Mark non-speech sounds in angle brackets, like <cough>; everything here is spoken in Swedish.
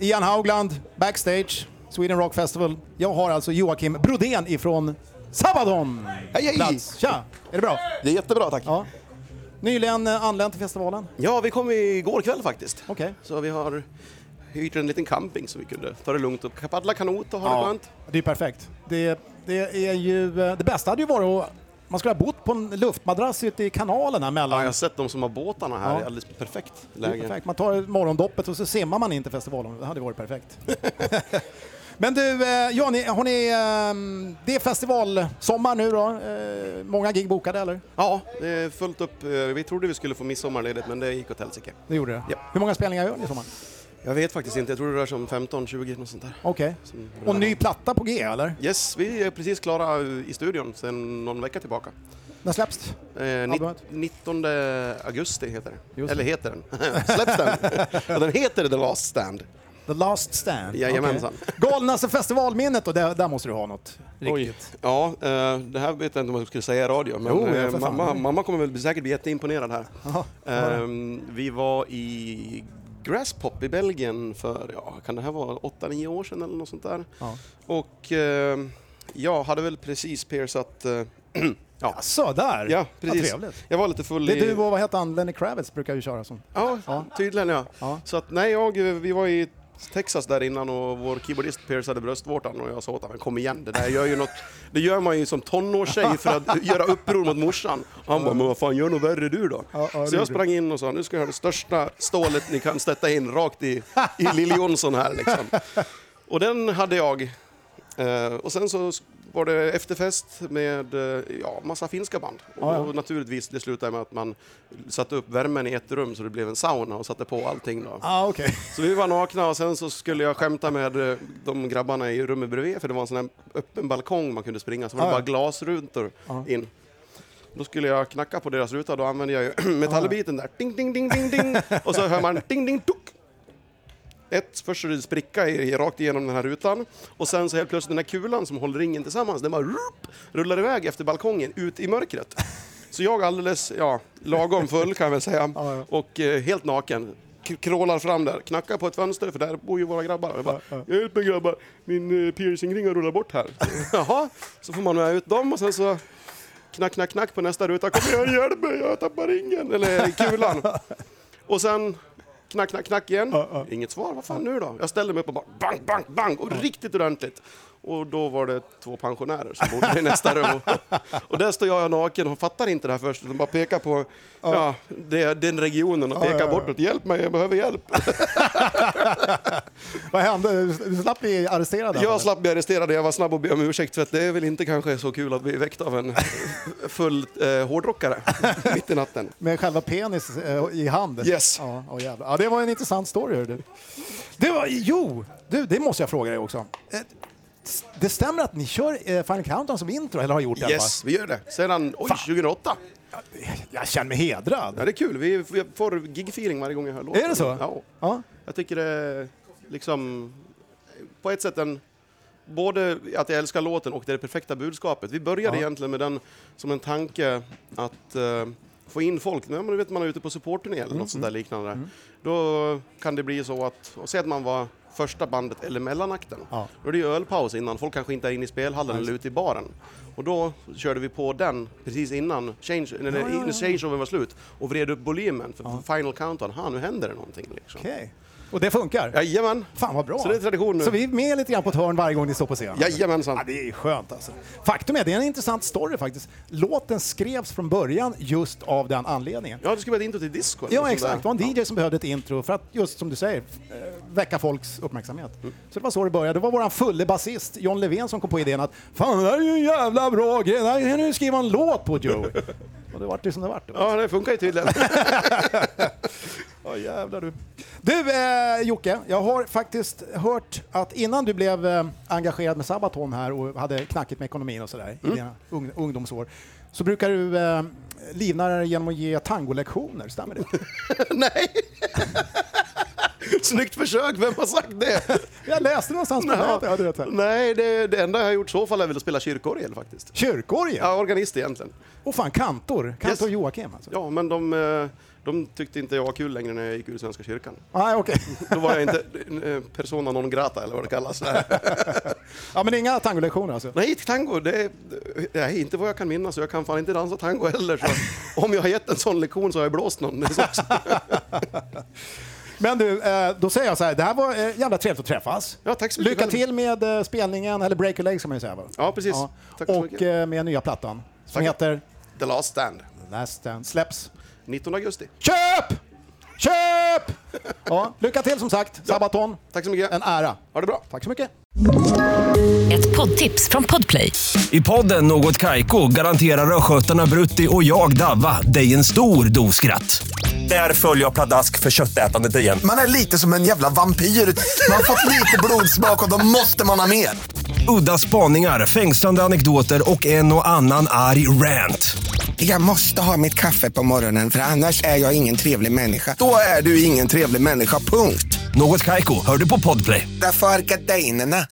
Ian Haugland, backstage, Sweden Rock Festival. Jag har alltså Joakim Brodén ifrån Sabaton. Hej, hej! Plats. Tja, är det bra? Det är jättebra, tack. Ja. Nyligen eh, anlänt till festivalen. Ja, vi kom igår kväll faktiskt. Okej. Så vi har hyrt en liten camping så vi kunde ta det lugnt och paddla kanot och ha det skönt. Det är perfekt. Det, det är ju... eh, Det bästa hade ju varit att man skulle ha bott på en luftmadrass ute i kanalen här Ja, jag mellan. har sett de som har båtarna här, Ja. Det är alldeles perfekt Det är läge. perfekt. Man tar morgondoppet och så simmar man in till festivalen. Det hade varit perfekt. <laughs> Men du, eh, Johnny, har ni... eh, Det är festivalsommar nu då. Eh, Många gig bokade, eller? Ja, det är fullt upp. Eh, Vi trodde vi skulle få midsommarledigt men det gick åt helsike. Det gjorde det? Ja. Hur många spelningar gör ni i sommar? Jag vet faktiskt inte, jag tror det rör sig om 15-20 något sånt där. Okej. Som Och rullar ny av. platta på G, eller? Yes, vi är precis klara eh, i studion sedan någon vecka tillbaka. När släpps Eh, nit- Albumet? 19 augusti heter det. Just det. Eller heter den. <laughs> Släpps den? <laughs> ja, den heter The Last Stand. The Last Stand? Jajamensan. Okej. Galnaste festivalminnet då, där, där måste du ha något. Oj. Ja, eh, det här vet jag inte om jag skulle säga i radio, men Jo, ja, eh, för fan. mamma, mamma kommer väl säkert bli jätteimponerad här. Jaha, Ehm, vi var i Grasspop i Belgien för, ja, kan det här vara 8-9 år sedan eller något sånt där? Ja. Och eh, jag hade väl precis piercat, eh, <clears throat> ja, Så där. ja, Vad precis. trevligt. jag var lite full Det är i... du och vad heter han, Lenny Kravitz brukar ju köra som. Ja, Ja. tydligen ja. Ja. Så att nej, jag, vi var i Texas där innan och vår keyboardist piercade bröstvårtan och jag sa åt honom kom igen, det där gör ju något, det gör man ju som tonårstjej för <laughs> att göra uppror mot morsan. Och han bara, men vad fan gör något värre du då? Ja, ja, det så gjorde jag sprang in och sa, nu ska jag ha det största stålet ni kan stötta in rakt i, i Lill Johnson här liksom. Och den hade jag. Eh, och sen så var det efterfest med eh, ja, massa finska band. Ja, ja. Och naturligtvis, det slutade med att man satte upp värmen i ett rum så det blev en sauna och satte på allting. Då. Ah, okej. <laughs> Så vi var nakna och sen så skulle jag skämta med eh, de grabbarna i rummet bredvid för det var en sån här öppen balkong man kunde springa så var det Ja, ja. bara glasrutor Ja. in. Då skulle jag knacka på deras ruta, då använde jag ju <clears throat> metallbiten där. Ding, ding, ding, ding, ding. Och så hör man ding, ding, tuk. Ett, först så är det spricka i, rakt igenom den här rutan och sen så helt plötsligt den här kulan som håller ringen tillsammans, den bara rup, rullar iväg efter balkongen ut i mörkret. Så jag alldeles, ja, lagom full kan jag väl säga <laughs> Ja, ja. och eh, helt naken k- krålar fram där, knackar på ett fönster för där bor ju våra grabbar. Och Jag bara, hjälp mig grabbar, min eh, piercingring har rullat bort här. <laughs> Jaha, så får man med ut dem och sen så knack, knack, knack på nästa ruta. Kom igen, hjälp mig, jag tappar ringen. Eller kulan. Och sen knack, knack, knack igen. Inget svar. Vad fan nu då? Jag ställde mig upp och bara bang, bang, bang. Och riktigt ordentligt. Och då var det två pensionärer som bodde i nästa rum. Och där står jag naken och fattar inte det här först. utan bara pekar på ja, det, den regionen och pekar ja, ja. bortåt. Hjälp mig, jag behöver hjälp. Vad hände? Du du slapp bli arresterad? eller? Jag slapp bli arresterad och jag var snabb att be om ursäkt för att det är väl inte kanske så kul att bli väckt av en full eh, hårdrockare mitt i natten. Med själva penis eh, i hand? Yes. Ja, åh jävlar. ja, det var en intressant story. hörru Du. Det var, jo, du, det måste jag fråga dig också. Eh, s- Det stämmer att ni kör eh, Final Countdown som intro, eller har gjort det i alla fall? Eh, Yes, vi gör det. Sedan oj, 2008. Jag känner mig hedrad. Ja, det är kul. Vi vi får gig-feeling varje gång jag hör låten. Är det så? Ja. Ja. Jag tycker det är liksom på ett sätt en Både att jag älskar låten och det, är det perfekta budskapet. Vi började Ja. egentligen med den som en tanke att eh, få in folk. När man, vet, man är ute på supportturné Mm, eller något sånt där liknande. Då kan det bli så att, och säg att man var första bandet eller mellanakten. Ja. Då är det ju ölpaus innan, folk kanske inte är inne i spelhallen eller ute i baren. Och då körde vi på den precis innan change, när ja, ja, ja. changeovern var slut och vred upp volymen för final countdown. Ha, nu händer det någonting liksom. Okej. Och det funkar? Jajamän! Fan vad bra. Så det är tradition nu. Så vi är med lite grann på ett hörn varje gång ni står på scen? Jajamensan. Ja, det är skönt alltså. Faktum är, det är en intressant story faktiskt. Låten skrevs från början just av den anledningen. Ja, det skulle vara ett intro till disco. eller Ja, något sånt exakt. Det där. var en DJ som behövde ett intro för att, just som du säger, eh, väcka folks uppmärksamhet. Så det var så det började. Det var våran fulle basist, John Levén, som kom på idén att Fan, det här är ju en jävla bra grej. Det här kan du skriva en låt på, <laughs> Joey. Och det vart det som det vart. Ja, det funkar ju tydligen. Ja, jävlar du. Du, eh, Jocke, jag har faktiskt hört att innan du blev eh, engagerad med Sabaton här och hade knackigt med ekonomin och sådär i dina ung, ungdomsår, så brukar du eh, livnära dig genom att ge tangolektioner, stämmer det? <laughs> <laughs> Nej! Snyggt försök, vem har <laughs> sagt det? Jag läste någonstans på nätet, jag hade rätt här. Nej, det, det enda jag har gjort i så fall är väl att spela kyrkorgel faktiskt. Kyrkorgel? Ja, organist egentligen. Och fan, kantor. Kantor Yes. Joakim alltså. Ja, men de, eh, De tyckte inte jag var kul längre när jag gick ur Svenska kyrkan. Nej, okej. <laughs> Då var jag inte eh, persona non grata eller vad det kallas. <laughs> Ja, men inga tangolektioner alltså? Nej, tango, det är, det är inte vad jag kan minnas. Jag kan fan inte dansa tango heller. Så om jag har gett en sån lektion så har jag blåst någon. Det är så- Men du, eh, då säger jag så här, det här var eh, jävla trevligt att träffas. Ja, tack så mycket. Lycka till med eh, spelningen, eller Break Your Legs kan man ju säga. Va? Ja, precis. Tack så Och mycket. eh, med nya plattan som Tack. heter The Last Stand, Last Stand. Släpps. 19 augusti. Köp! <laughs> Köp! Ja, lycka till som sagt, Sabaton. Tack så mycket. En ära. Ha det bra. Tack så mycket. Ett poddtips från Podplay. I podden Något Kaiko garanterar östgötarna Brutti och jag, Davva, dig en stor dos skratt. Där följer jag pladask för köttätandet igen. Man är lite som en jävla vampyr. Man har fått lite blodsmak och då måste man ha mer. Udda spaningar, fängslande anekdoter och en och annan arg rant. Jag måste ha mitt kaffe på morgonen för annars är jag ingen trevlig människa. Då är du ingen trevlig människa, punkt. Något Kaiko, hör du på Podplay. Därför arkadeinerna.